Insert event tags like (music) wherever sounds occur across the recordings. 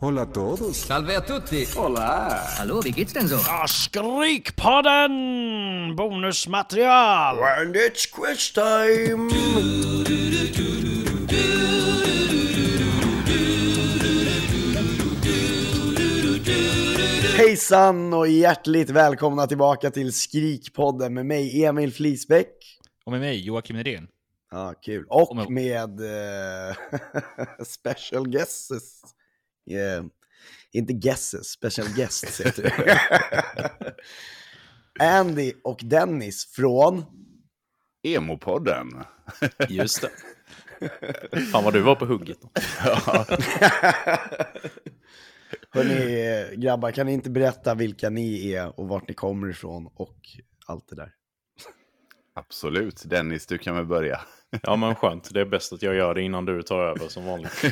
Hola a todos. Salve a tutti! Hola. Hallå, wie geht's denn so? Ja, Skrikpodden! Bonusmaterial! And it's quiz time. Hejsan och hjärtligt välkomna tillbaka till Skrikpodden med mig Emil Flisbäck. Och med mig, Joakim Nydén. Ja, kul. Och Och med- med eh, (laughs) special guesses. Eh, inte guesses, special guests heter det. Andy och Dennis från... Emopodden. Just det. Fan vad du var på hugget. Hörni eh, grabbar, kan ni inte berätta vilka ni är och vart ni kommer ifrån och allt det där? Absolut. Dennis, du kan väl börja. Ja men skönt, det är bäst att jag gör det innan du tar över som vanligt.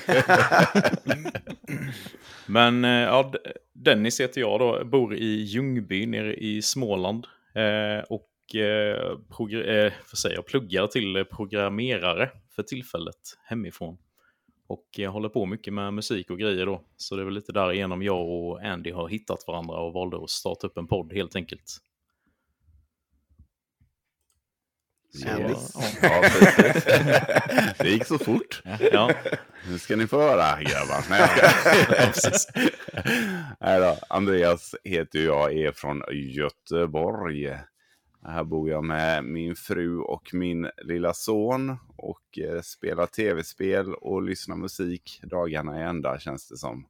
men eh, ja, D- Dennis heter jag då, bor i Ljungby nere i Småland. Eh, och eh, progr- eh, vad säger jag pluggar till programmerare för tillfället hemifrån. Och jag håller på mycket med musik och grejer då. Så det är väl lite därigenom jag och Andy har hittat varandra och valde att starta upp en podd helt enkelt. Så, Härligt. ja. Ja, precis. Det gick så fort. Ja, Nu ska ni få höra, grabbar. Nej, jag ska- (laughs) Nej då, Andreas heter ju jag, är från Göteborg. Här bor jag med min fru och min lilla son och eh, spelar tv-spel och lyssnar musik dagarna i ända känns det som.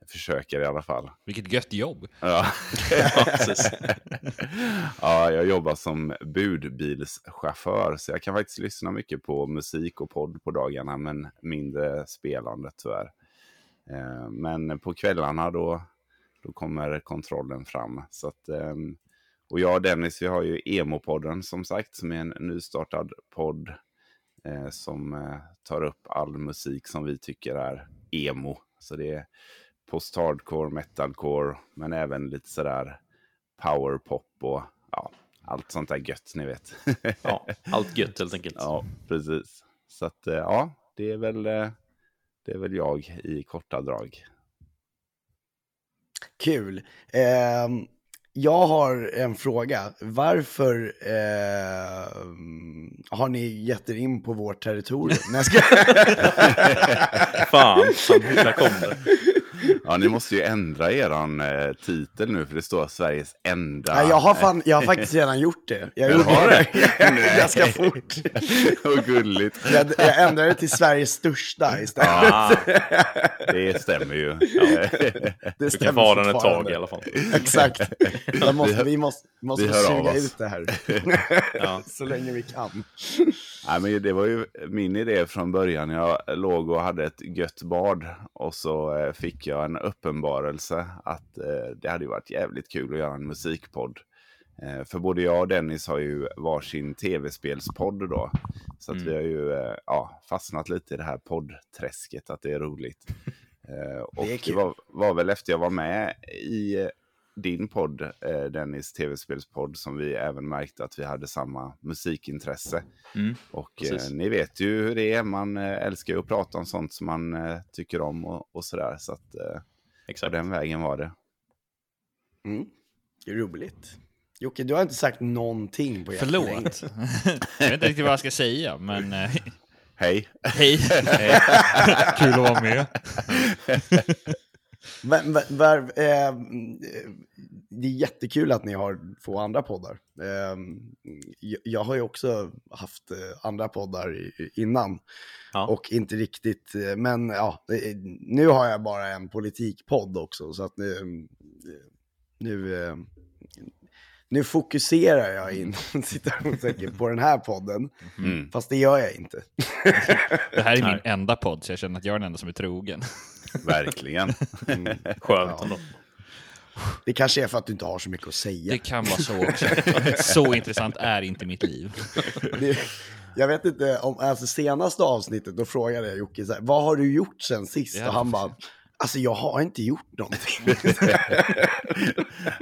Jag försöker i alla fall. Vilket gött jobb. Ja. ja, precis. (laughs) ja, jag jobbar som budbilschaufför så jag kan faktiskt lyssna mycket på musik och podd på dagarna men mindre spelande tyvärr. Eh, Men på kvällarna då, då kommer kontrollen fram. Så att, ehm, och jag och Dennis vi har ju Emo-podden som sagt som är en nystartad podd eh, som eh, tar upp all musik som vi tycker är emo. Så det är post-hardcore, metalcore, men även lite sådär powerpop och ja, allt sånt där gött ni vet. (laughs) Ja, allt gött helt enkelt. ja, precis. Så att eh, ja, det är väl, eh, det är väl jag i korta drag. Kul. Ehm, jag har en fråga. Varför ehm, har ni gett er in på vårt territorium? Nej, jag skojar. Fan, fan, där kom det. Ja, ni måste ju ändra eran eh, titel nu för det står Sveriges enda. Nej, (laughs) jag, har fan, jag har faktiskt redan gjort det. Jag Jag gjorde har det. det ganska Nej. fort. Vad gulligt. Jag, jag ändrade det till Sveriges största istället. Ah, Det stämmer ju. (laughs) det du kan vara den ett fortfarande. tag i alla fall. Exakt. Jag måste, hör- vi måste, måste vi hör av suga oss. ut det här Ja. så länge vi kan. Nej, men det var ju min idé från början. Jag låg och hade ett gött bad och så eh, fick jag en uppenbarelse att eh, det hade ju varit jävligt kul att göra en musikpodd. Eh, För både jag och Dennis har ju varsin tv-spelspodd då. Så att Mm. vi har ju eh, ja, fastnat lite i det här poddträsket, att det är roligt. (laughs) Eh, Och Det är det, kul. var, var väl efter jag var med i eh, din podd, eh, Dennis, tv-spelspodd, som vi även märkte att vi hade samma musikintresse. Mm, och eh, precis. ni vet ju hur det är, man eh, älskar ju att prata om sånt som man eh, tycker om och, och sådär. Så att eh, på Exakt. den vägen var det. Mm. Det är roligt. Jocke, du har inte sagt någonting på jättelänge. Förlåt. jag vet inte riktigt vad jag ska säga, men eh, (laughs) Hej! hej. Kul att vara med. Men, men, var, eh, mm, eh, det är jättekul att ni har två andra poddar. Eh, jag, jag har ju också haft eh, andra poddar i- innan Ja. och inte riktigt, eh, men ja, det är- nu har jag bara en politikpodd också så att nu, eh, nu, eh, nu fokuserar jag in (laughs) citationstecken på den här podden, Mm. fast det gör jag inte. Det här är min enda podd, så jag känner att jag är den enda som är trogen. (laughs) Verkligen. Skönt Ja. ändå. Mm. Det kanske är för att du inte har så mycket att säga. Det kan vara så också. Så intressant är inte mitt liv. Det, jag vet inte, om, alltså senaste avsnittet då frågade jag Jocke så här, vad har du gjort sen sist? Ja, och han bara, alltså jag har inte gjort någonting.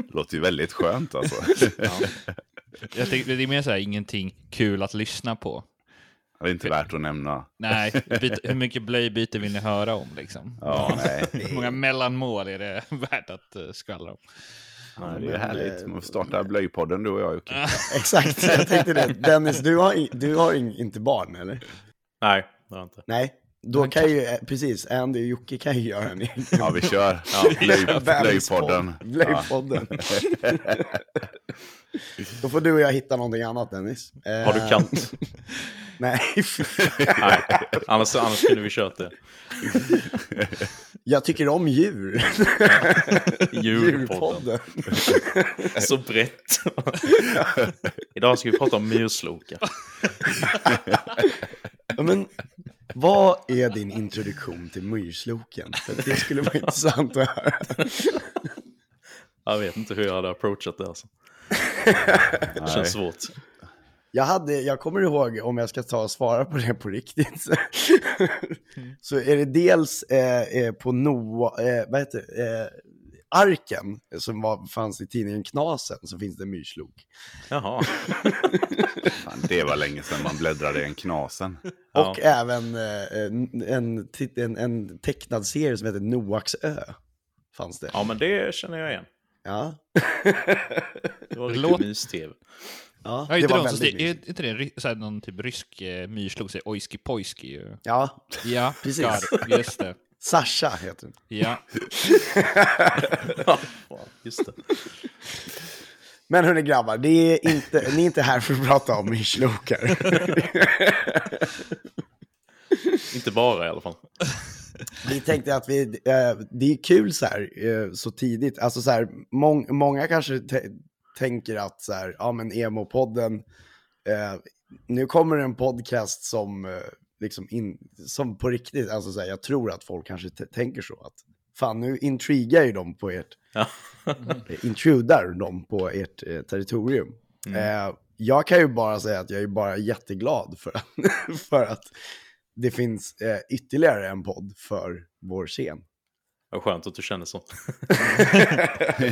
(laughs) Låter ju väldigt skönt alltså. Jag tänkte, det är mer så här, ingenting kul att lyssna på. Det är inte värt att nämna. Nej, byt, hur mycket blöjbyte vill ni höra om liksom? Ja, nej. Hur många mellanmål är det värt att eh, skvallra om? Nej, det är men, härligt. eh, Man får starta blöjpodden du och jag Jocke. (laughs) Exakt, jag tänkte det. Dennis, du har, in, du har in, inte barn eller? Nej, det har jag inte. Nej, då kan ju, eh, precis, Andy och Jocke kan ju göra en egen Ja, vi kör. (laughs) Blöj, blöjpodden. Blöjpodden. Blöjpodden. (laughs) Då får du och jag hitta någonting annat Dennis. Eh, Har du katt? (laughs) Nej, (laughs) Nej, annars, annars kunde vi kört det. jag tycker om djur. Djurpodden. Djurpodden. Så brett. Idag ska vi prata om myrslokar. Ja, Men vad är din introduktion till myrsloken? För det skulle (laughs) vara intressant att höra. Jag vet inte hur jag hade approachat det alltså. Det känns svårt. Jag, hade, jag kommer ihåg, om jag ska ta och svara på det på riktigt, så, så är det dels eh, eh, på Noa, eh, vad heter det? eh, Arken, som var, fanns i tidningen Knasen, så finns det en myrslok. Jaha. Fan, det var länge sedan man bläddrade i en knasen. Ja. Och även eh, en, en, tit- en, en tecknad serie som heter Noaks ö. Fanns det. Ja, men det känner jag igen. Ja. Det var Det riktigt låter- mys-tv. ja. Ja, inte det var de som väldigt styr- mysigt. är inte det en ry- såhär, någon typ rysk eh, myrslok? säger Oiski Poiski? ju. Ja, Ja, Precis. gar- Just det. Sasha heter den. Ja. Ja, just det. Men hörni grabbar, det är inte, ni är inte här för att prata om myrslokar. Inte bara i alla fall. Vi tänkte att vi, eh, det är kul så här, eh, så tidigt. Alltså så här, mång, många kanske te- tänker att så här, ja men emo-podden, eh, nu kommer en podcast som, eh, liksom in, som på riktigt, alltså så här, jag tror att folk kanske t- tänker så. att Fan, nu intrigar ju de på ert, Ja. eh, intrudar de på ert eh, territorium. Mm. Eh, jag kan ju bara säga att jag är bara jätteglad för att, (laughs) för att det finns eh, ytterligare en podd för vår scen. Vad skönt att du känner så.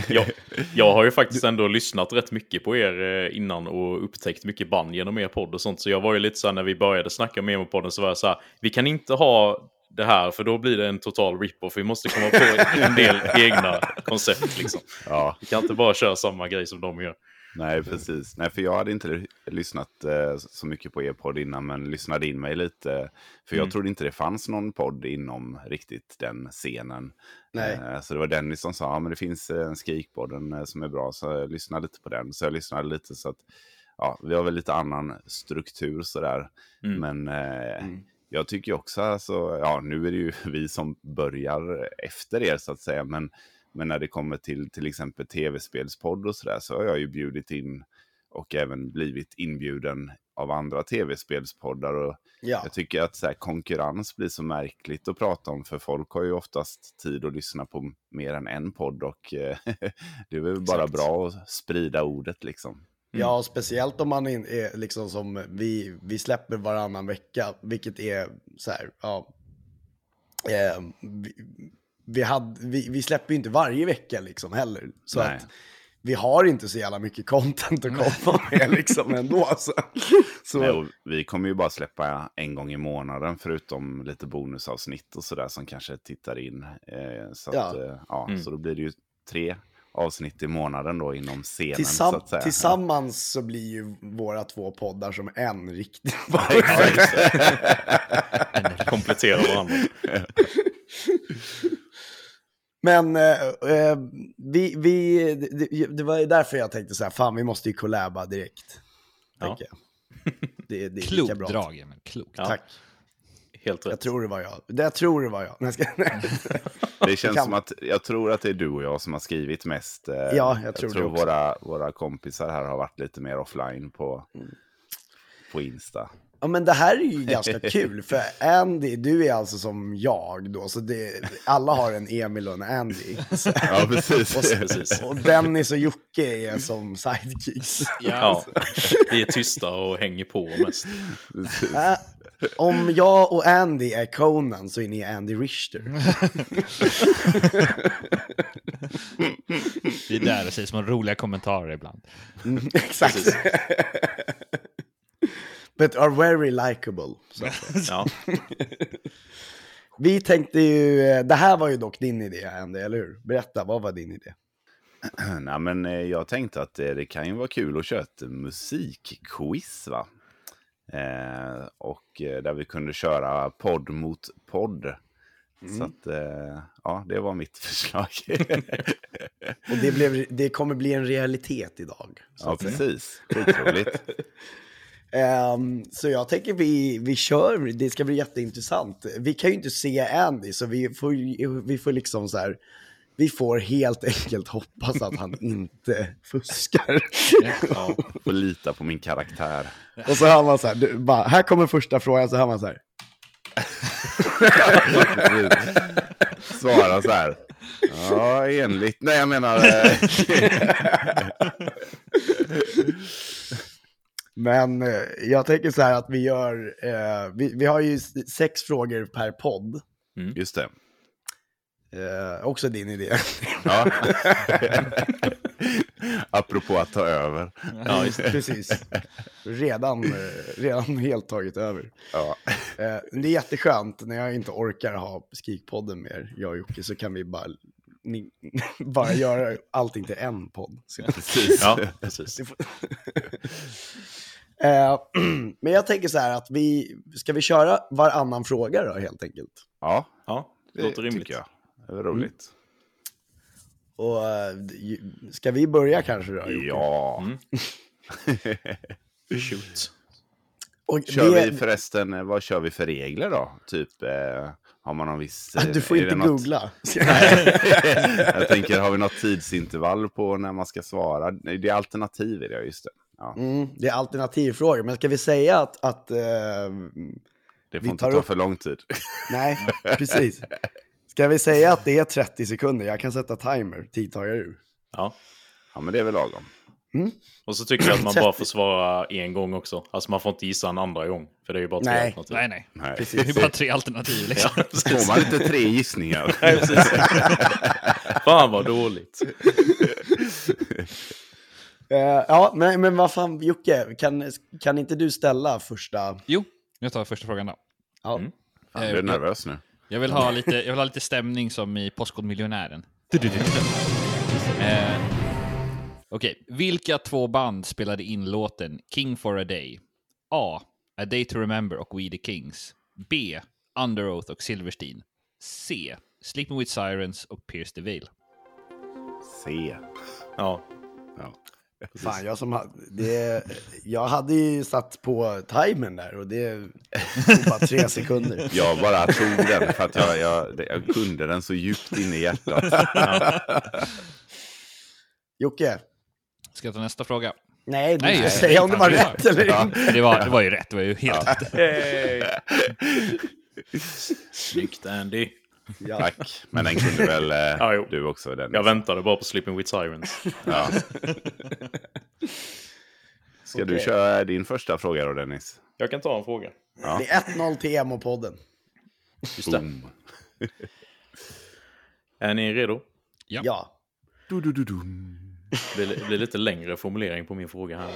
jag, jag har ju faktiskt ändå lyssnat rätt mycket på er eh, innan och upptäckt mycket band genom er podd och sånt. Så jag var ju lite så här när vi började snacka om emo-podden så var jag så här, vi kan inte ha det här för då blir det en total rip-off. Vi måste komma på en del egna koncept liksom. Ja, Vi kan inte bara köra samma grej som de gör. nej precis. Nej, för jag hade inte ly- lyssnat eh, så mycket på er podd innan, men lyssnade in mig lite. För jag trodde inte det fanns någon podd inom riktigt den scenen. Nej. Eh, så det var Dennis som sa, ja men det finns eh, en skrikpodden eh, som är bra, så eh, lyssna lite på den. Så jag lyssnade lite så att, ja, vi har väl lite annan struktur sådär. Men eh, jag tycker ju också, alltså, ja nu är det ju (laughs) vi som börjar efter er så att säga, men, men när det kommer till till exempel tv-spelspodd och sådär så har jag ju bjudit in och även blivit inbjuden av andra tv-spelspoddar. Och Ja. Jag tycker att så här, konkurrens blir så märkligt att prata om, för folk har ju oftast tid att lyssna på mer än en podd och eh, (laughs) det är väl bara bra att sprida ordet liksom. Ja, speciellt om man in- är liksom som vi, vi släpper varannan vecka, vilket är så här, ja. Eh, vi, vi, hade, vi, vi släpper ju inte varje vecka liksom heller. Så Nej. att vi har inte så jävla mycket content att komma med liksom ändå. (laughs) Så, så Nej, och vi kommer ju bara släppa en gång i månaden förutom lite bonusavsnitt och sådär som kanske tittar in. Eh, så, att, Ja. eh, ja, så då blir det ju tre avsnitt i månaden då inom scenen. tillsam- så att säga. tillsammans så blir ju våra två poddar som (laughs) en riktig. Komplettera varandra. Men eh, eh, vi, vi, det, det var ju därför jag tänkte så här, fan vi måste ju collaba direkt. Ja. tänker (laughs) jag. (laughs) Det, det är lika Klokt bra. drag, Emil. Klokt. Ja. Tack. Helt Jag rätt. tror det var jag. Det- Jag tror det var jag. Nej, jag ska... (laughs) Det känns kan- som att jag tror att det är du och jag som har skrivit mest. eh, jag tror det också. våra, våra kompisar här har varit lite mer offline på, Mm. på (laughs) Insta. Ja men det här är ju ganska kul, för Andy, du är alltså som jag då, så det, alla har en Emil och (laughs) en Andy. Så, Ja, precis. Precis. och Dennis och Jocke är som sidekicks. Ja, vi är tysta och hänger på mest. Ä- Äh, Om jag och Andy är Conan så är ni Andy Richter. Vi är där och säger små roliga kommentarer ibland. Exakt. But are very likable. Så. Ja. Vi tänkte ju, eh, det här var ju dock din idé Andy, eller hur? Berätta, vad var din idé? Nej, men eh, jag tänkte att eh, det kan ju vara kul att köra ett musikquiz, va? Eh, och eh, där vi kunde köra podd mot podd. Så att, eh, ja, det var mitt (laughs) förslag. Och det, blev, det kommer bli en realitet idag. Så, ja, precis. Skitroligt. Ehm, så jag tänker vi, vi kör, det ska bli jätteintressant. Vi kan ju inte se Andy, så vi får, ju- vi får liksom så här, vi får helt enkelt hoppas att han inte fuskar. Ja, får lita på min karaktär. Och så hör man så här, du, bara, här kommer första frågan, så hör man så här. Svara så här. Ja, enligt. Nej, jag menar... eh, Men eh, jag tänker så här att vi gör, eh, vi, vi har ju s- sex frågor per podd. Just det. Eh, också din idé. Ja. (laughs) Apropå att ta över. Ja, just det. Precis. Redan, eh, redan (laughs) helt tagit över. Ja. Eh, det är jätteskönt när jag inte orkar ha Skrikpodden mer, jag och Jocke, så kan vi bara, ni, (laughs) bara göra allting till en podd. Så. Precis. Ja, precis. Eh, (clears throat) men jag tänker så här att vi, ska vi köra varannan fråga då helt enkelt? Ja, Ja, det låter rimligt. tycker jag. Det var roligt. Och eh, ju- ska vi börja kanske då? Mm. Jocke? Ja. Shoot. Och Kör det- vi förresten, eh, vad kör vi för regler då? Typ, eh, har man någon viss... eh, Ah, Du får är inte det något- googla. (laughs) (laughs) jag tänker, har vi något tidsintervall på när man ska svara? Nej, Det är alternativ i det, just det. Ja, Mm, det är alternativfrågor, men ska vi säga att... att eh, det får vi inte tar ta upp- för lång tid. (laughs) nej, precis. Ska vi säga att det är 30 sekunder? Jag kan sätta timer, tidtagare ur. Ja. Ja, men det är väl lagom. Och så tycker jag att man bara får svara en gång också. Alltså man får inte gissa en andra gång. För det är ju bara tre Nej. alternativ. Nej, nej. Nej. Det är bara tre alternativ liksom. Får man inte tre (laughs) gissningar? Nej, precis. (laughs) Fan vad dåligt. Eh, ja, men, men vad fan, Jocke, kan, kan inte du ställa första... Jo, jag tar första frågan då. Eh, Ja, Mm. Fan, jag är nervös nu. Jag vill ha lite, jag vill ha lite stämning som i (laughs) Postkodmiljonären. Eh, Okej, vilka två band spelade in låten King for a Day? A. A Day to Remember och We the Kings. B. Under Oath och Silverstein. C. Sleeping with Sirens och Pierce the Veil. C. Ja. Ja. fan, jag som hade... Det, jag hade ju satt på timern där och det tog bara (laughs) tre sekunder. Jag bara tog den för att jag, jag, det- jag kunde den så djupt in i hjärtat. Jocke? Ska jag ta nästa fråga? Nej, du Nej, ska jag- säga om det var jag- jag- rätt eller inte. Det var, det var ju rätt, det var ju helt rätt. Snyggt Andy. (laughs) Ja. Tack. Men den kunde väl eh, Ja, jo. du också? Den. Jag väntade bara på Sleeping with Sirens. Ja. (laughs) Ska du Okej. köra din första fråga då, Dennis? Jag kan ta en fråga. Det är 1-0 till emo-podden. Just det. Boom. Är ni redo? Ja. Ja. Det blir- det blir lite längre formulering på min fråga här.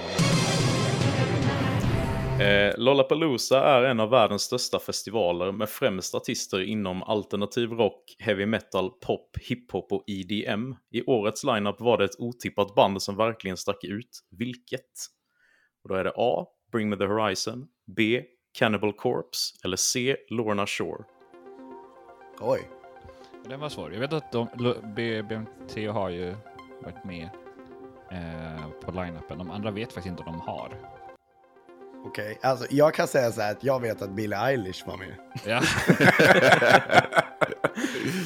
Eh, Lollapalooza är en av världens största festivaler med främst artister inom alternativ rock, heavy metal, pop, hiphop och EDM. I årets lineup var det ett otippat band som verkligen stack ut. Vilket? Och då är det A. Bring Me The Horizon B. Cannibal Corpse eller C. Lorna Shore. Oj. Den var svår. Jag vet att de, L- B- BMT har ju varit med eh, på line-upen. De andra vet faktiskt inte om de har. Okej, alltså jag kan säga så här att jag vet att Billie Eilish var med. (laughs) Ja. Fan,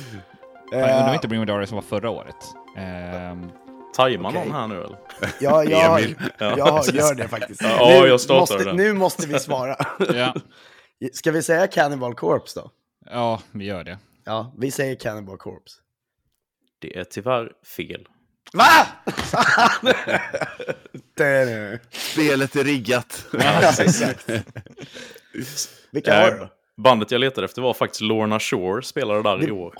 jag Eh. undrar om inte Bring Me The Horizon var förra året. Ehm, Tajmar Okej. någon här nu eller? Ja, jag, Emil. jag, gör det faktiskt. Ja, jag startar måste, den. Nu måste vi svara. ja. (laughs) Ska vi säga Cannibal Corpse då? ja, vi gör det. Ja, vi säger Cannibal Corpse. Det är tyvärr fel. Va? det är det. Spelet är riggat. Vilka har Eh, du då? Bandet jag letade efter var faktiskt Lorna Shore, spelade där i år.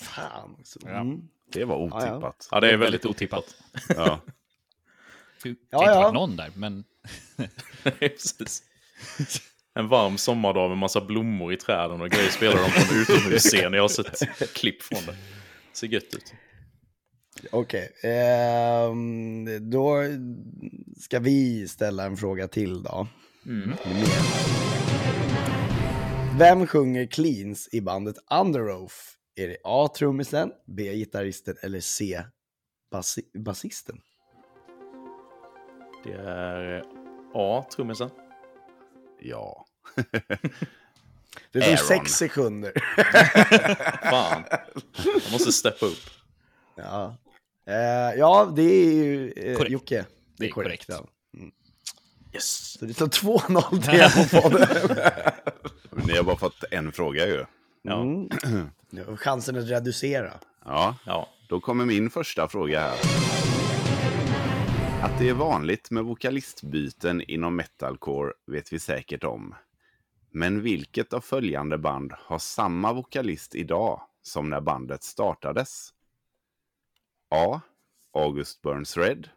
Fan. också. Mm. Det var otippat. Ja, det är väldigt otippat. (laughs) Ja. Det kan Ja, inte ja. varit någon där, men Precis. En varm sommardag med massa blommor i träden och grejer spelar de på en utomhusscen. Jag har sett klipp från det. Ser gött ut. Okej, ehm, då ska vi ställa en fråga till då. Vem sjunger cleans i bandet Underoath? Är det A. trummisen, B. gitarristen eller C. Basi- basisten? Det är eh, A, trummisen. Ja. Det tog Aaron. sex sekunder. Fan. Jag måste steppa upp. ja. Eh, ja, det är ju eh, Korrekt. Jocke. Det är korrekt. ja. Yes. Så det står (laughs) 2-0 till er på podden. Men Ni har bara fått en fråga ju. Ja. Mm. Ja, Chansen att reducera. Ja. Ja. Då kommer min första fråga här. Att det är vanligt med vokalistbyten inom metalcore vet vi säkert om. Men vilket av följande band har samma vokalist idag som när bandet startades? A. August Burns Red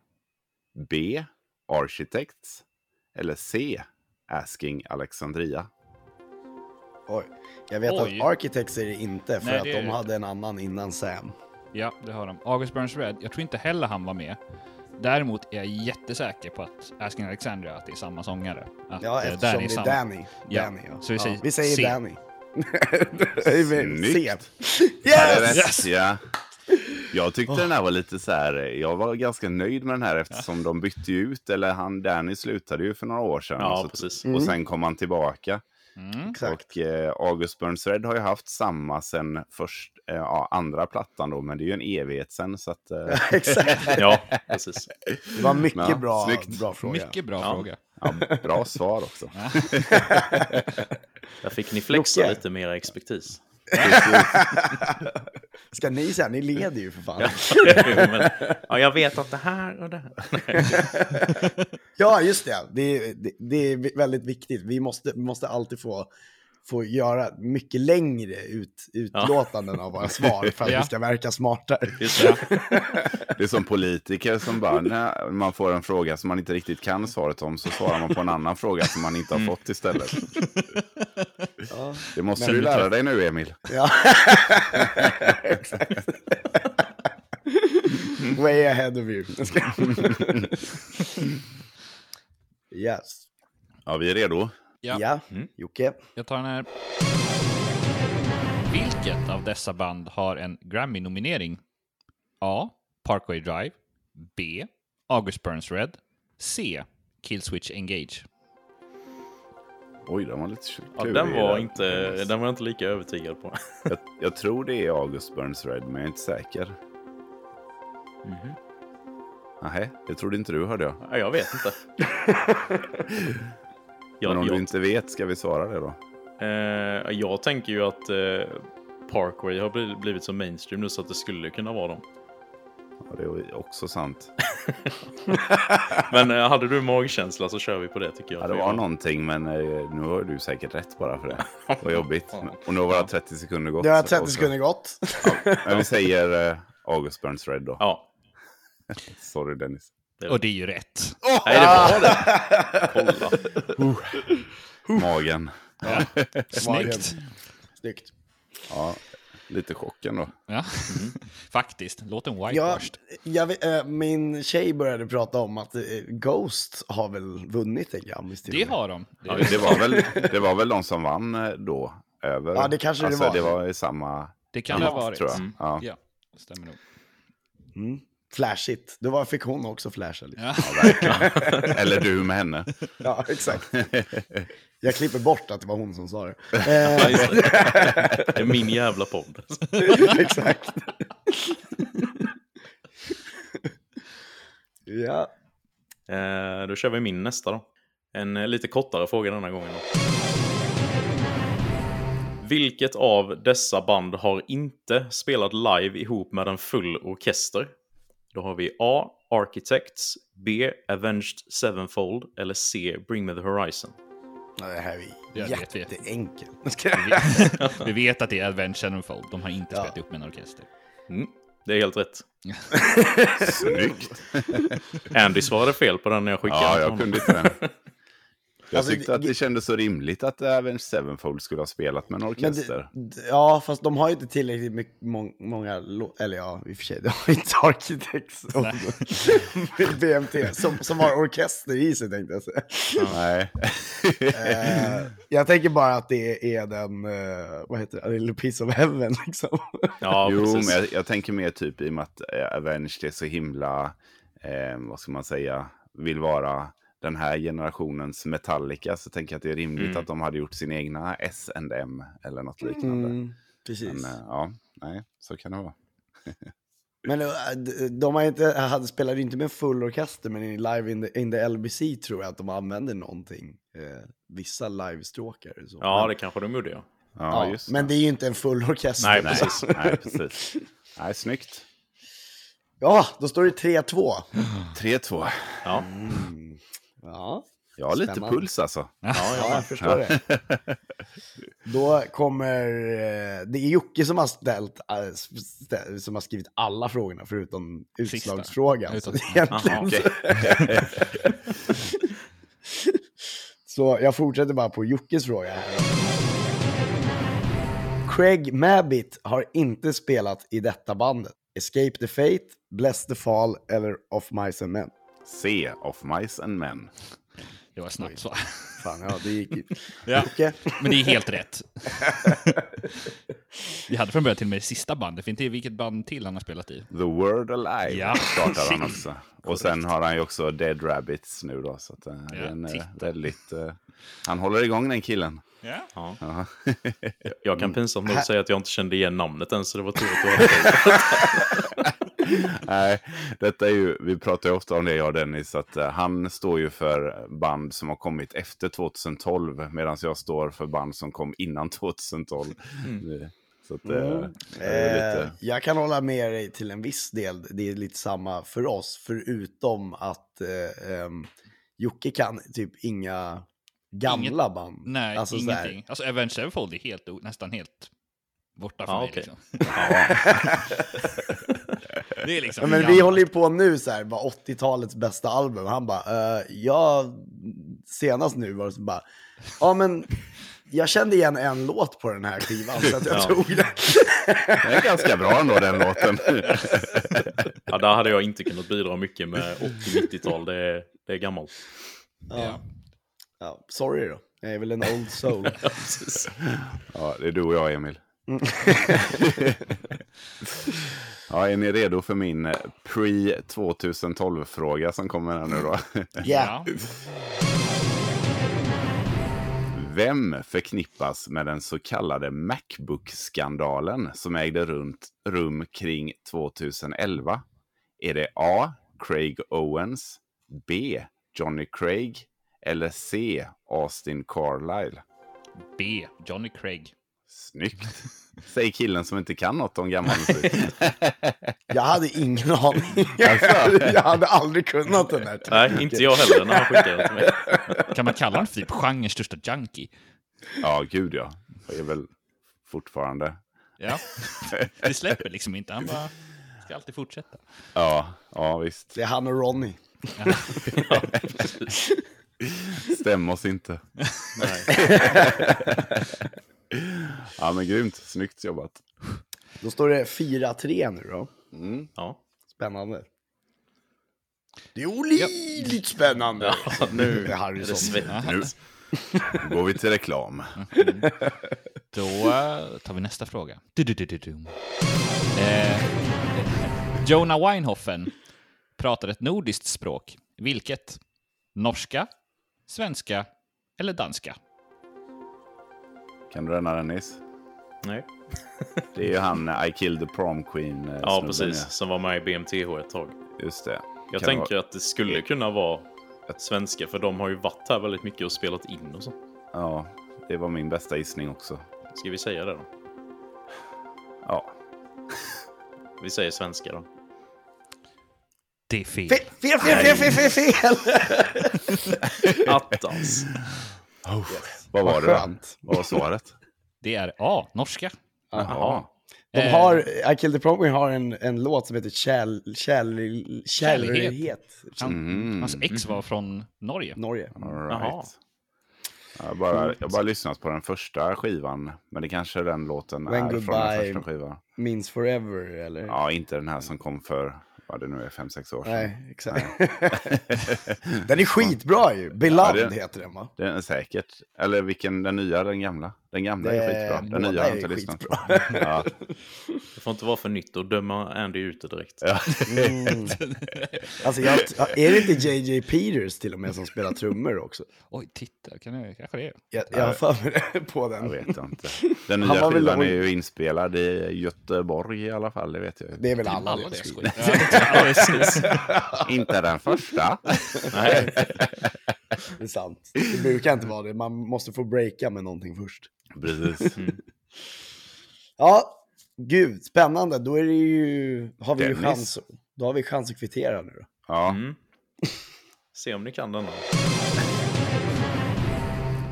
B. Architects eller C. Asking Alexandria. Oj. Jag vet Oj. att Architects är det inte, för Nej, att det är de det hade en annan innan Sam. Ja, det har de. August Burns Red, jag tror inte heller han var med. Däremot är jag jättesäker på att Asking Alexandria att det är samma sångare. Att Ja, eh, eftersom Danny det är samma. Danny. Ja. Danny ja. Så vi säger ja. vi säger C. Danny. C. (laughs) Snyggt. Ja, det är Yes! rätt. Ja. Jag tyckte den här var lite så här, jag var ganska nöjd med den här eftersom de bytte ju ut, eller han Danny slutade ju för några år sedan. Ja, så, precis. Och sen kom han tillbaka. Exakt. Och eh, August Burns Red har ju haft samma sen först, eh, ja, andra plattan då, men det är ju en evighet sen. Så att, eh, Exakt. Ja, precis. Det var mycket Ja, bra, snyggt. bra fråga. Mycket bra Ja. fråga. ja, bra svar också. Där fick ni flexa Jocke. lite mer expertis. Ska ni säga, ni leder ju för fan. Men, ja, jag vet att det här och det här. Ja, just det. Det är, det, det är väldigt viktigt. Vi måste, vi måste alltid få, få göra mycket längre ut, utlåtanden av våra svar för att Ja. vi ska verka smartare. Just det. Det är som politiker som bara, när man får en fråga som man inte riktigt kan svaret om så svarar man på en annan fråga som man inte har fått istället. Det måste du lära dig nu, Emil. Ja. Exakt. Way ahead of you. Jag ska- yes. Ja, vi är redo. Ja. Mm. Ja, Jocke. Jag tar den här. Vilket av dessa band har en Grammy-nominering? A. Parkway Drive. B. August Burns Red. C. Killswitch Engage. Oj, den var lite Ja, klurig den, var där. inte, den var jag inte lika övertygad på. Jag, jag tror det är August Burns Red, men jag är inte säker. Nej, det trodde inte du, hörde jag. Mhm. Ja, jag vet (laughs) inte. Men om Jag, du jag, inte vet, ska vi svara det då? eh, jag tänker ju att eh, Parkway har bli- blivit så mainstream nu så att det skulle kunna vara dem. Ja, det är också sant. Men eh, hade du magkänsla så kör vi på det tycker jag. Ja, det var någonting, men eh, nu har du säkert rätt bara för det. Vad (laughs) jobbigt. Och nu har våra 30 sekunder gått. Nu har så- 30 och så- sekunder gått. Men vi säger eh, August Burns Red då. Ja, Sorry, Dennis. Och det är ju rätt. Nej, det var det. Kolla. Magen. Snyggt! Snyggt. Ja, lite chocken då. Ja. Mhm. (laughs) Faktiskt. Låt en Ja, whitewashed. jag, vet- eh, min tjej började prata om att eh, Ghost har väl vunnit en Grammis till Det och med. har de. Det Ja, är det, var väl, det var väl de som vann eh, då? Över. Ja, det kanske det alltså, var. Det var i samma Det kan det ha hit, varit. tror jag. Mm. Ja. Ja, stämmer nog. Flashigt. Då var, fick hon också flasha lite. Ja. Eller du med henne. (laughs) Ja, exakt. Jag klipper bort att det var hon som sa (laughs) det. Eh, (laughs) Ja, just det. Det är min jävla podd. alltså. Exakt. ja. Eh, då kör vi min nästa då. En eh, lite kortare fråga denna gången då. Vilket av dessa band har inte spelat live ihop med en full orkester? Då har vi A. Architects, B. Avenged Sevenfold eller C. Bring Me The Horizon. Nej, Det här är Ja, det vet vi. jätteenkelt. Vi vet att det är Adventure and Fold. De har inte spelat upp med en orkester. Mm, det är helt rätt. Snyggt. Andy svarade fel på den när jag skickade Ja, den till jag honom. kunde inte den. Jag Alltså, tyckte det- att det kändes så rimligt att Avenged Sevenfold skulle ha spelat med en Men orkester. (laughs) det, d- ja, fast de har ju inte tillräckligt mycket, mång, många lå- eller ja, i och för sig, de har ju inte Architects och (laughs) BMT som, som har orkester i sig tänkte jag säga. (laughs) Nej. Eh, jag tänker bara att det är den, eh, vad heter det, A Little Piece of Heaven liksom. Ja, (laughs) jo, precis. men jag, jag tänker mer typ i och med att eh, Avenged är så himla, eh, vad ska man säga, vill vara den här generationens Metallica. Så tänker jag att det är rimligt Mm. att de hade gjort sin egna S&M eller något Mm. liknande. (laughs) precis. Men eh, ja, nej, så kan det vara. Men eh, d- de har inte, hade, spelade ju inte med full orkester, men i Live in the, in the LBC tror jag att de använde någonting. Eh, vissa livestråkar. och Så. Ja, Men- det kanske de gjorde, ja. Ja, ja, just Men det är ju inte en full orkester. Nej, Nej, precis. (laughs) nej, precis. Nej, snyggt. Ja, då står det 3-2. 3-2. Ja, Mm. (laughs) Ja, Jag har lite Spännande. puls alltså. ja, jag förstår det. Då kommer... eh, Det är Jocke som har, ställt, eh, stä- som har skrivit alla frågorna förutom Sista. utslagsfrågan. Utan- Så, egentligen Aha, okej. så jag fortsätter bara på Jockes fråga. Craig Mabbitt har inte spelat i detta bandet. Escape the Fate, Bless the Fall eller Of Mice and Men. C, Of Mice and Men. Det var snabbt svar. Fan, ja, det gick ju. (laughs) Ja. Jocke? Men det är (laughs) helt rätt. Vi hade från början till och med det sista bandet, för inte vilket band till han har spelat i. The World Alive Ja. startar han också. Och sen har han ju också Dead Rabbits nu då. Så att, eh, det är en, eh, titta. väldigt, eh, han håller igång den killen. Ja. Ja. jag kan pinsamt nog säga att jag inte kände igen namnet än, så det var tur att du hade det. (laughs) Nej, detta är ju, vi pratar ju ofta om det jag och Dennis, att eh, han står ju för band som har kommit efter 2012, medan jag står för band som kom innan (laughs) 2012. Eh, Så att, eh, det är Eh, lite, jag kan hålla med dig till en viss del. Det är lite samma för oss, förutom att eh, ehm, Jocke kan typ inga gamla band. Nej, Alltså så här, ingenting. Alltså Avenged Sevenfold är helt, o- nästan helt borta för Ja, mig. okej. (laughs) Liksom. (laughs) det är liksom Ja, men vi gammalt. håller ju på nu så här, bara 80-talets bästa album. Han bara, eh, ja, senast nu var det så bara, ja men jag kände igen en låt på den här skivan så att jag (laughs) Ja. tog den. den är ganska bra ändå den låten. Ja, där hade jag inte kunnat bidra mycket med 80-90-tal. Det, är- det är gammalt. Ja. Ja, sorry då, jag är väl en old (laughs) soul. Precis. ja, det är du och jag Emil. (laughs) ja, är ni redo för min pre-2012-fråga som kommer här nu då? Yeah. Ja. Vem förknippas med den så kallade Macbook-skandalen som ägde runt, rum kring 2011? Är det A. Craig Owens, B. Johnny Craig eller C. Austin Carlyle? B. Johnny Craig. Snyggt! Säger killen som inte kan något om gammal musik. Jag hade ingen aning. (laughs) jag hade aldrig kunnat den där. Nej, inte jag heller när han skickade den till mig. Kan man kalla honom för typ genrens största junkie? Ja, gud ja. Det är väl fortfarande. (laughs) Ja. Det släpper liksom inte. Han bara ska alltid fortsätta. Ja, ja visst. Det är han och Ronny. Stäm oss inte. Nej. (laughs) Ja, men grymt. Snyggt jobbat. Då står det 4-3 nu då. Ja. Spännande. Det är olidligt spännande. Ja, nu Det är är det Harrison. svett. Nu går vi till reklam. Då eh, tar vi nästa fråga. Du-du-du-du-dum. Eh, Jonah Weinhoffen pratar ett nordiskt språk. Vilket? Norska, svenska eller danska? Kan du den Dennis? Nej. Det är ju han eh, I killed the prom queen. eh, Ja, snubben, precis. Som var med i BMTH ett tag. ja. Just det. Jag Kan tänker vara- att det skulle kunna vara svenska, för de har ju varit här väldigt mycket och spelat in och så. Ja, det var min bästa gissning också. Ska vi säga det då? Ja, Vi säger svenska (laughs) då. Det är fel. Fe- Fel, fel, fel, fel, fel, fel! Attans. vad var Vad det då? skönt. Vad var (laughs) svaret? Det är A. Norska. Jaha. De Eh, har, I Killed the Program har en, en låt som heter Kärl, kärl, Kärlighet. Mm. Han, Hans ex var från Norge. Norge. All Jaha. right. Jag har bara, jag har bara lyssnat på den första skivan, men det kanske är den låten When är från den Goodbye- första skivan. Means Forever eller? Ja, inte den här som kom för, vad det nu är, fem sex år sedan. Nej, exakt. (laughs) den är skitbra ju. Beloved Ja, det- heter (laughs) den va? Den är säkert. Eller vilken, den nya, den gamla? Den gamla Det- är skitbra. båda Den nya har jag är inte lyssnat på. skitbra. (laughs) Ja, Det får inte vara för nytt och döma Andy ute direkt. ja. Mm. Alltså, jag, är det inte JJ Peters till och med som spelar trummor också? Oj, titta, kan jag, kanske det är. Jag, jag har för mig det på Jag (laughs) den. vet inte. Den Han nya var väl skivan är lång. ju inspelad i Göteborg i alla fall, det vet jag. ju. Det är väl alla, det. Alla deras (laughs) skit. Ja, precis. Inte den (laughs) första. Nej, Det är sant. Det brukar inte vara det. Man måste få breaka med någonting först. Precis. Ja, gud, spännande. Då är det ju, har vi ju Dennis. chans. Då har vi chans att kvittera nu då. Ja. se om ni kan denna.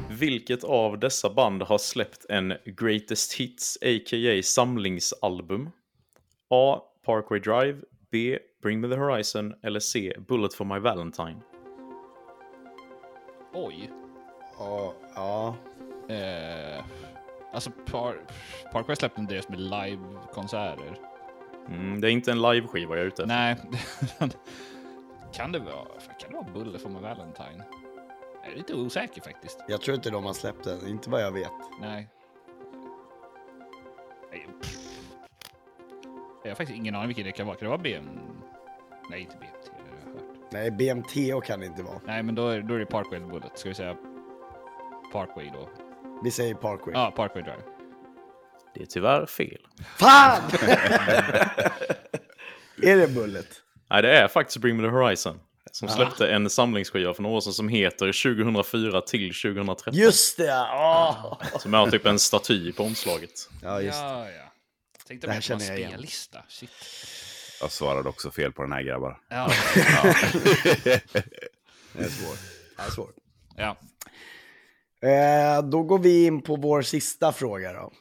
Vilket av dessa band har släppt en Greatest Hits, a.k.a. samlingsalbum? A. Parkway Drive, B. Bring Me The Horizon eller C. Bullet For My Valentine. Oj. Ja, ja. Eh, alltså, par, Parkway släppte en del med livekonserter. Mm, det är inte en liveskiva jag är ute efter. Nej. (laughs) kan det vara... fan, Kan det vara Bulle från Valentine? Jag är lite osäker faktiskt. Jag tror inte de har släppt den, inte vad jag vet. Nej. Nej, pff. Jag har faktiskt ingen aning vilken det kan vara. Kan det vara BM? Nej, inte BMT. det har jag hört. Nej, BMTH kan det inte vara. Nej, men då är, då är det Parkway eller Bullet. Ska vi säga Parkway då? Vi säger Parkway. Ja, Parkway Drive. Det är tyvärr fel. Fan! är det Bullet? Nej, det är faktiskt Bring Me The Horizon. Som Ah. släppte en samlingsskiva för några år sedan som heter 2004 till 2013. Just det! ja. Åh. Som har typ en staty (laughs) på omslaget. Ja, just det. ja, ja. Tänkte Det om här jag på en känner jag igen. spellista. Shit. Jag svarade också fel på den här (laughs) grabbar. (laughs) Ja. Det är svårt. Det är svårt. ja. Eh, då går vi in på vår sista fråga då.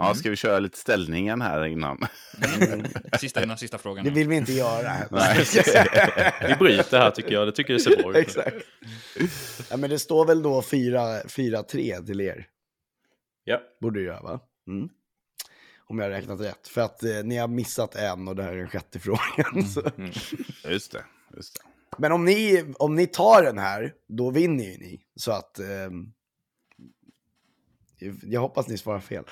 Ja, ska vi köra lite ställningen här innan? Mm. Sista, den här sista frågan. Det vill vi inte göra. Vi bryter här tycker jag, det tycker jag ser bra (laughs) ut. Exakt. Ja, men det står väl då 4 4-3 till er? Ja. Borde det göra va? Mm. Om jag har räknat rätt. För att eh, ni har missat en och det här är den sjätte (laughs) frågan. Så. Just det. Just det. Men om ni, om ni tar den här, då vinner ju ni. Så att... ehm, jag hoppas ni svarar fel.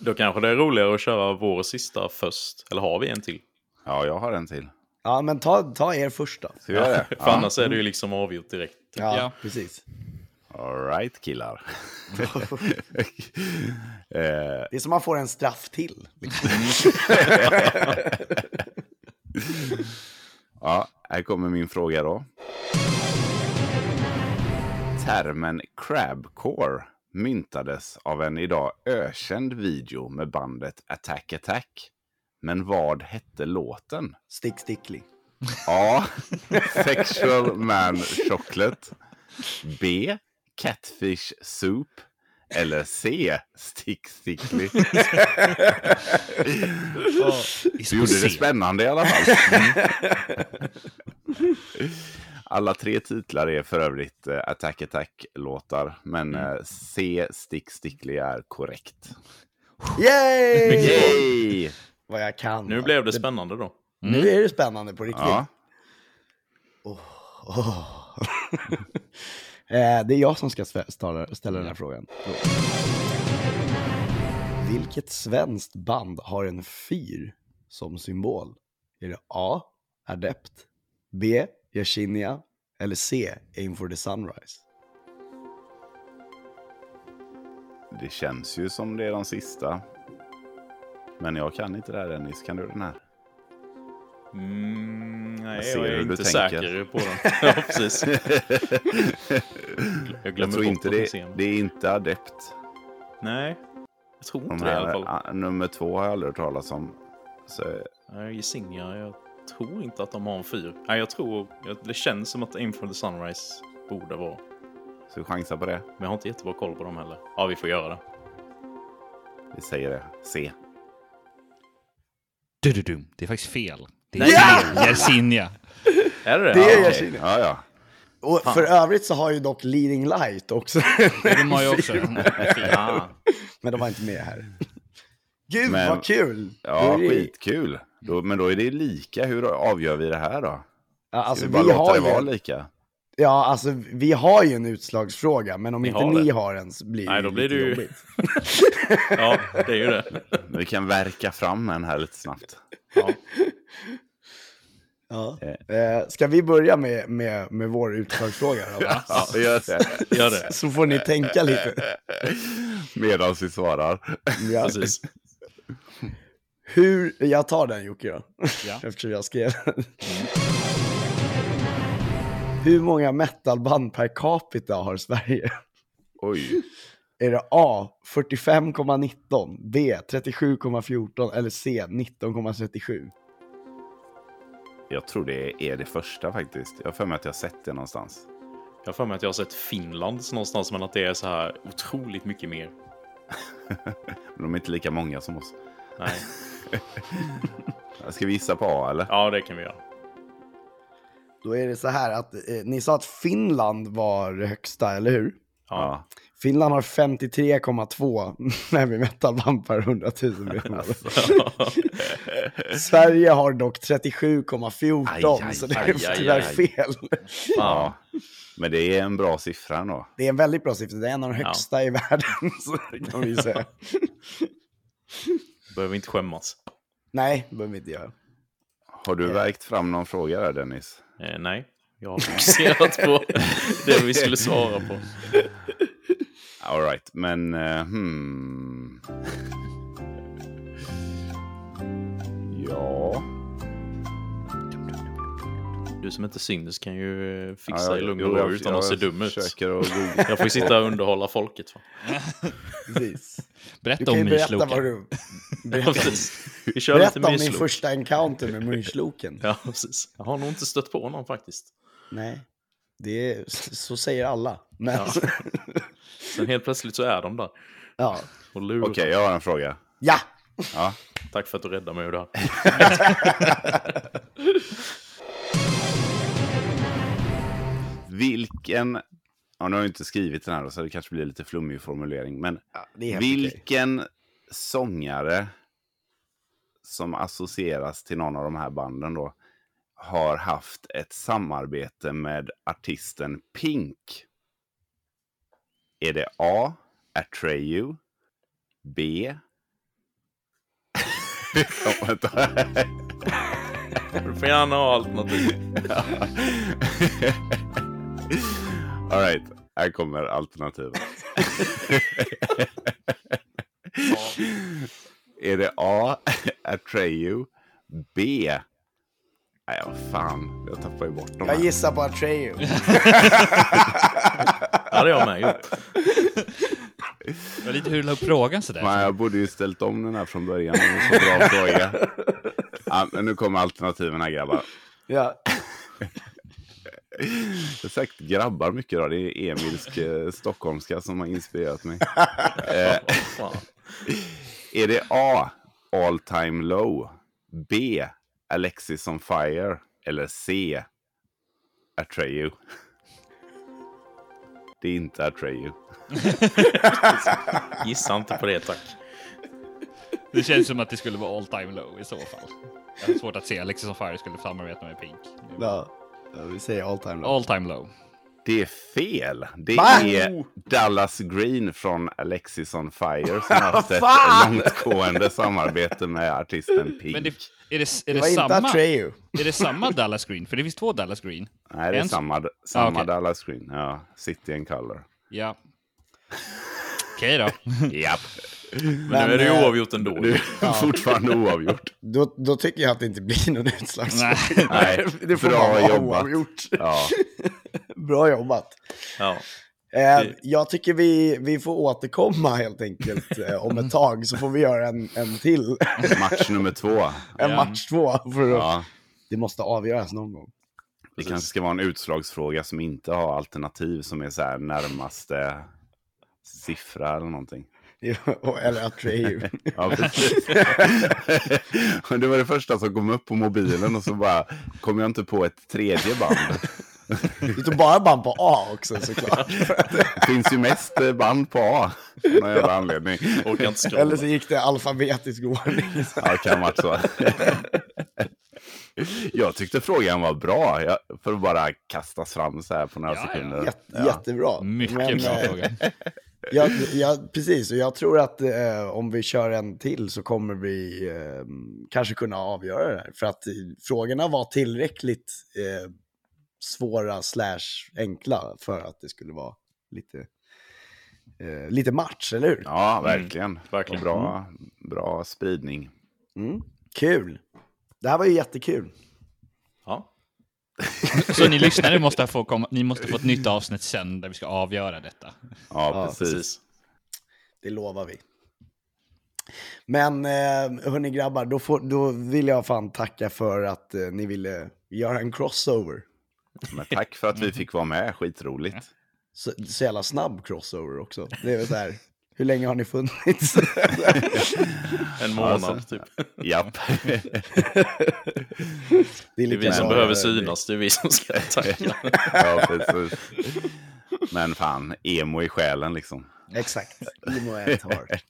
Då kanske det är roligare att köra vår sista först. Eller har vi en till? Ja, jag har en till. Ja, men ta, ta er först då. Ska vi göra det? (laughs) För Ja. annars är det ju liksom avgjort direkt. Ja, Ja. precis. All right, (laughs) killar. eh, Det är som man får en straff till. Liksom. ja, här kommer min fråga då. Termen crabcore myntades av en idag ökänd video med bandet Attack Attack. Men vad hette låten? Stick stickling. A. Sexual Man Chocolate. B. Catfish Soup. Eller C. Stick Stickly. Du gjorde det spännande i alla fall. Mm. Alla tre titlar är för övrigt eh, Attack Attack-låtar, men eh, C. Stick Stickly är korrekt. Yay! Yay! Vad jag kan. Nu blev det spännande då. Nu är det spännande på riktigt. Ja, Eh, det är jag som ska svä- ställa, ställa den här frågan. Vilket svenskt band har en fyr som symbol? Är det A. Adept, B. Yersinia eller C. Aim for the Sunrise? det känns ju som det är de sista. Men jag kan inte det här Dennis, kan du den här? Mm, Jag nej, ser jag, hur är du inte tänker. säker (laughs) på den. (laughs) ja, precis. Jag glömmer Jag tror bort inte vad den det, ser. det är inte adept. Nej, jag tror De inte det i alla här, fall. ah, nummer två har jag aldrig hört talas om. Så, Nej, Gisinga, jag tror inte att de har en fyr. Nej, jag tror... jag- Det känns som att In for the Sunrise borde vara. så chansa på det. Men jag har inte jättebra koll på dem heller. Ja, vi får göra det. Vi säger det. C. Du-du-dum. Det är faktiskt fel. Det är Nej! Yersinia. Är det det? Det är Ja, jag okej. Kina. Ja, ja. Och för övrigt så har ju dock Leading Light också. (laughs) De har ju också en film. Ah. Men de var inte med här. Gud Men- vad kul! Ja, Hur är- skitkul. Då, men då är det lika. Hur avgör vi det här då? Ja, Alltså, alltså, vi bara vi, låta har det vara ju, lika? ja, alltså, vi har ju en utslagsfråga, men om Ni inte har ni det. har en så blir det Nej, då blir lite det ju- jobbigt. Ja, det är ju det. Vi kan verka fram en här lite (laughs) snabbt. Ja. Eh, ska vi börja med, med, med vår utslagsfråga då? va? Ja, vi gör det. Gör det. Så får ni (laughs) tänka lite. Medan vi svarar. Ja. Precis. Hur, jag tar den Jocke då, Ja. (laughs) eftersom jag skrev den. Hur många metalband per capita har Sverige? Oj. Är det A 45,19, B 37,14 eller C 19,37? Jag tror det är det första faktiskt. Jag har för mig att jag har sett det någonstans. Jag har för mig att jag har sett Finlands någonstans, men att det är så här otroligt mycket mer. Men de är inte lika många som oss. Nej. (laughs) Ska vi gissa på A eller? Ja, det kan vi göra. Då är det så här att eh, ni sa att Finland var det högsta, eller hur? Ja. Finland har (laughs) 53,2 heavy metal-band per 100 000 medlemmar. Alltså. (laughs) Sverige har dock 37,14 Aj, aj, så det aj, är aj, tyvärr aj. fel. ja. Men det är en bra siffra ändå. Det är en väldigt bra siffra, det är en av de högsta i världen. (laughs) Så det kan vi ju säga. Behöver inte skämmas. Nej, det behöver vi inte göra. Har du vägt fram någon fråga där Dennis? Eh, nej, jag har (laughs) fokuserat på det vi skulle svara på. All right, men eh, hmm. (laughs) ja. Du som inte syns kan ju eh, Ja, fixa i lugn jo, och ro utan att se jag dum ut. försöker att (laughs) googla. Jag får ju sitta och underhålla (laughs) folket. Va? Precis. Du Berätta kan ju om berätta mysloken. vad du... Ja, precis. Vi kör Berätta lite om din myslok. första encounter med munsloken. Ja, precis. Jag har nog inte stött på någon faktiskt. Nej, det är, så säger alla. Men, ja. (laughs) Sen helt plötsligt så är de där. ja. Och lurar. Okej, jag har en fråga. Ja. Tack för att du räddade mig ur det här. Vilken... Ja, nu har jag inte skrivit den här då, så det kanske blir lite flummig formulering. Men det är helt okej. vilken sångare som associeras till någon av de här banden då har haft ett samarbete med artisten Pink? Är det A. Atreyu? B. (laughs) Kom, vänta. Mm. Du får gärna ha alternativ. (laughs) All right, här kommer alternativet. (laughs) Är det A, Atreyu, B? Nej, vad fan, jag tappar ju bort dem Jag här. gissar (laughs) på Atreyu. Ja, det har jag med gjort. Det var lite hur du la upp frågan sådär. Men jag borde ju ställt om den här från början. Det är så (laughs) bra fråga. Ja, men nu kommer alternativen här grabbar. Ja. Jag har sagt grabbar mycket idag. Det är Emils eh, stockholmska som har inspirerat mig. (laughs) Fan. Är det A. All time low. B. Alexis on fire. Eller C. Atreyu. (laughs) Det är inte Atreyu. Gissa inte på det, tack. Det känns som att det skulle vara all time low i så fall. Jag har svårt att se Alexis on Fire skulle samarbeta med Pink. Ja. Ja, Vi säger all time low. All time low. Det är fel. Det Va? är Dallas Green från Alexis on fire (laughs) som har haft ett Fan! långtgående samarbete med artisten Pink. Men det, är det, är det, Det var inte samma? Atreyu. Är det samma Dallas Green? För det finns två Dallas Green. Nej, det är en- samma, samma okej. Dallas Green. Ja, City and (laughs) Color. Ja. (laughs) Okej då. Japp. Men nu är det eh, ju oavgjort ändå. Du är fortfarande (laughs) oavgjort. Då, då tycker jag att det inte blir någon utslagsfråga. Nej. Nej, (laughs) Det får bra bara vara jobbat. oavgjort. Ja. Bra jobbat. Ja. Eh, jag tycker vi, vi får återkomma helt enkelt eh, om ett tag, så får vi göra en, en till, Match nummer två. en match två. För att, Ja, Det måste avgöras någon gång. (laughs) det kanske ska vara en utslagsfråga som inte har alternativ som är så här närmaste siffra eller någonting. Eller Atreyu. Ja, precis. (laughs) Och det var det första som kom upp på mobilen och så bara kom jag inte på ett tredje band. Det står bara band på A (laughs) också såklart. Det (laughs) finns ju mest eh, band på A. Av någon jävla anledning. Orkar inte Eller scrolla. så gick det alfabetisk ordning. Ja, det kan vara så. Jag tyckte frågan var bra, jag, för att bara kastas fram så här på några Ja, ja. sekunder. (laughs) Jätte, Jättebra. Mycket Men, bra eh, fråga. Jag, jag, precis, och jag tror att eh, om vi kör en till så kommer vi eh, kanske kunna avgöra det här. För att eh, frågorna var tillräckligt eh, svåra slash enkla för att det skulle vara lite, eh, lite match, eller hur? Ja, Mm, verkligen. Mm. verkligen. Och bra, bra spridning. Mm. Kul! Det här var ju jättekul. Ja. Så ni lyssnare måste få, komma, ni måste få ett nytt avsnitt sen där vi ska avgöra detta. Ja, Ja, precis. Det lovar vi. Men eh, hörni grabbar, då, får, då vill jag fan tacka för att eh, ni ville göra en crossover. Men tack för att vi fick vara med, skitroligt. så, så jävla snabb crossover också. Det är väl så här, (laughs) hur länge har ni (laughs) funnits? En månad Alltså. typ. (laughs) Japp. Det är Det är vi som eh, behöver synas, det är vi som ska tacka. ja, precis. Men fan, emo i själen liksom. (laughs) Exakt, emo är ett heart.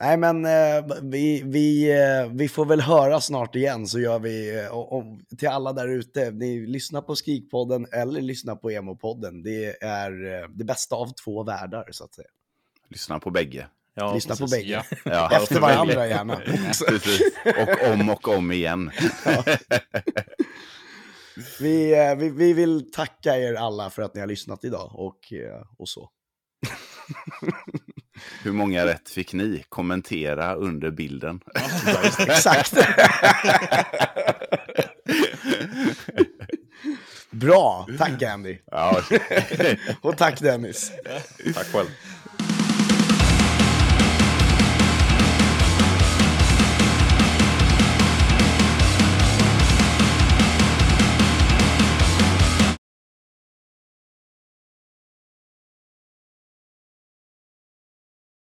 Nej men eh, vi, vi, eh, vi får väl höra snart igen så gör vi, eh, och, och, till alla där ute, ni lyssnar på Skrikpodden eller lyssnar på Emo-podden. Det är eh, det bästa av två världar så att säga. (laughs) Lyssna på bägge. (laughs) Ja, lyssna precis. på bägge. Ja. Ja, Efter varandra gärna. (laughs) Precis. Och om och om (laughs) igen. Vi, eh, vi, vi vill tacka er alla för att ni har lyssnat idag och, eh, och så. (laughs) Hur många rätt fick ni? Kommentera under bilden. (laughs) Exakt. Bra, tack Andy. Ja, (laughs) Och tack Dennis. Tack själv.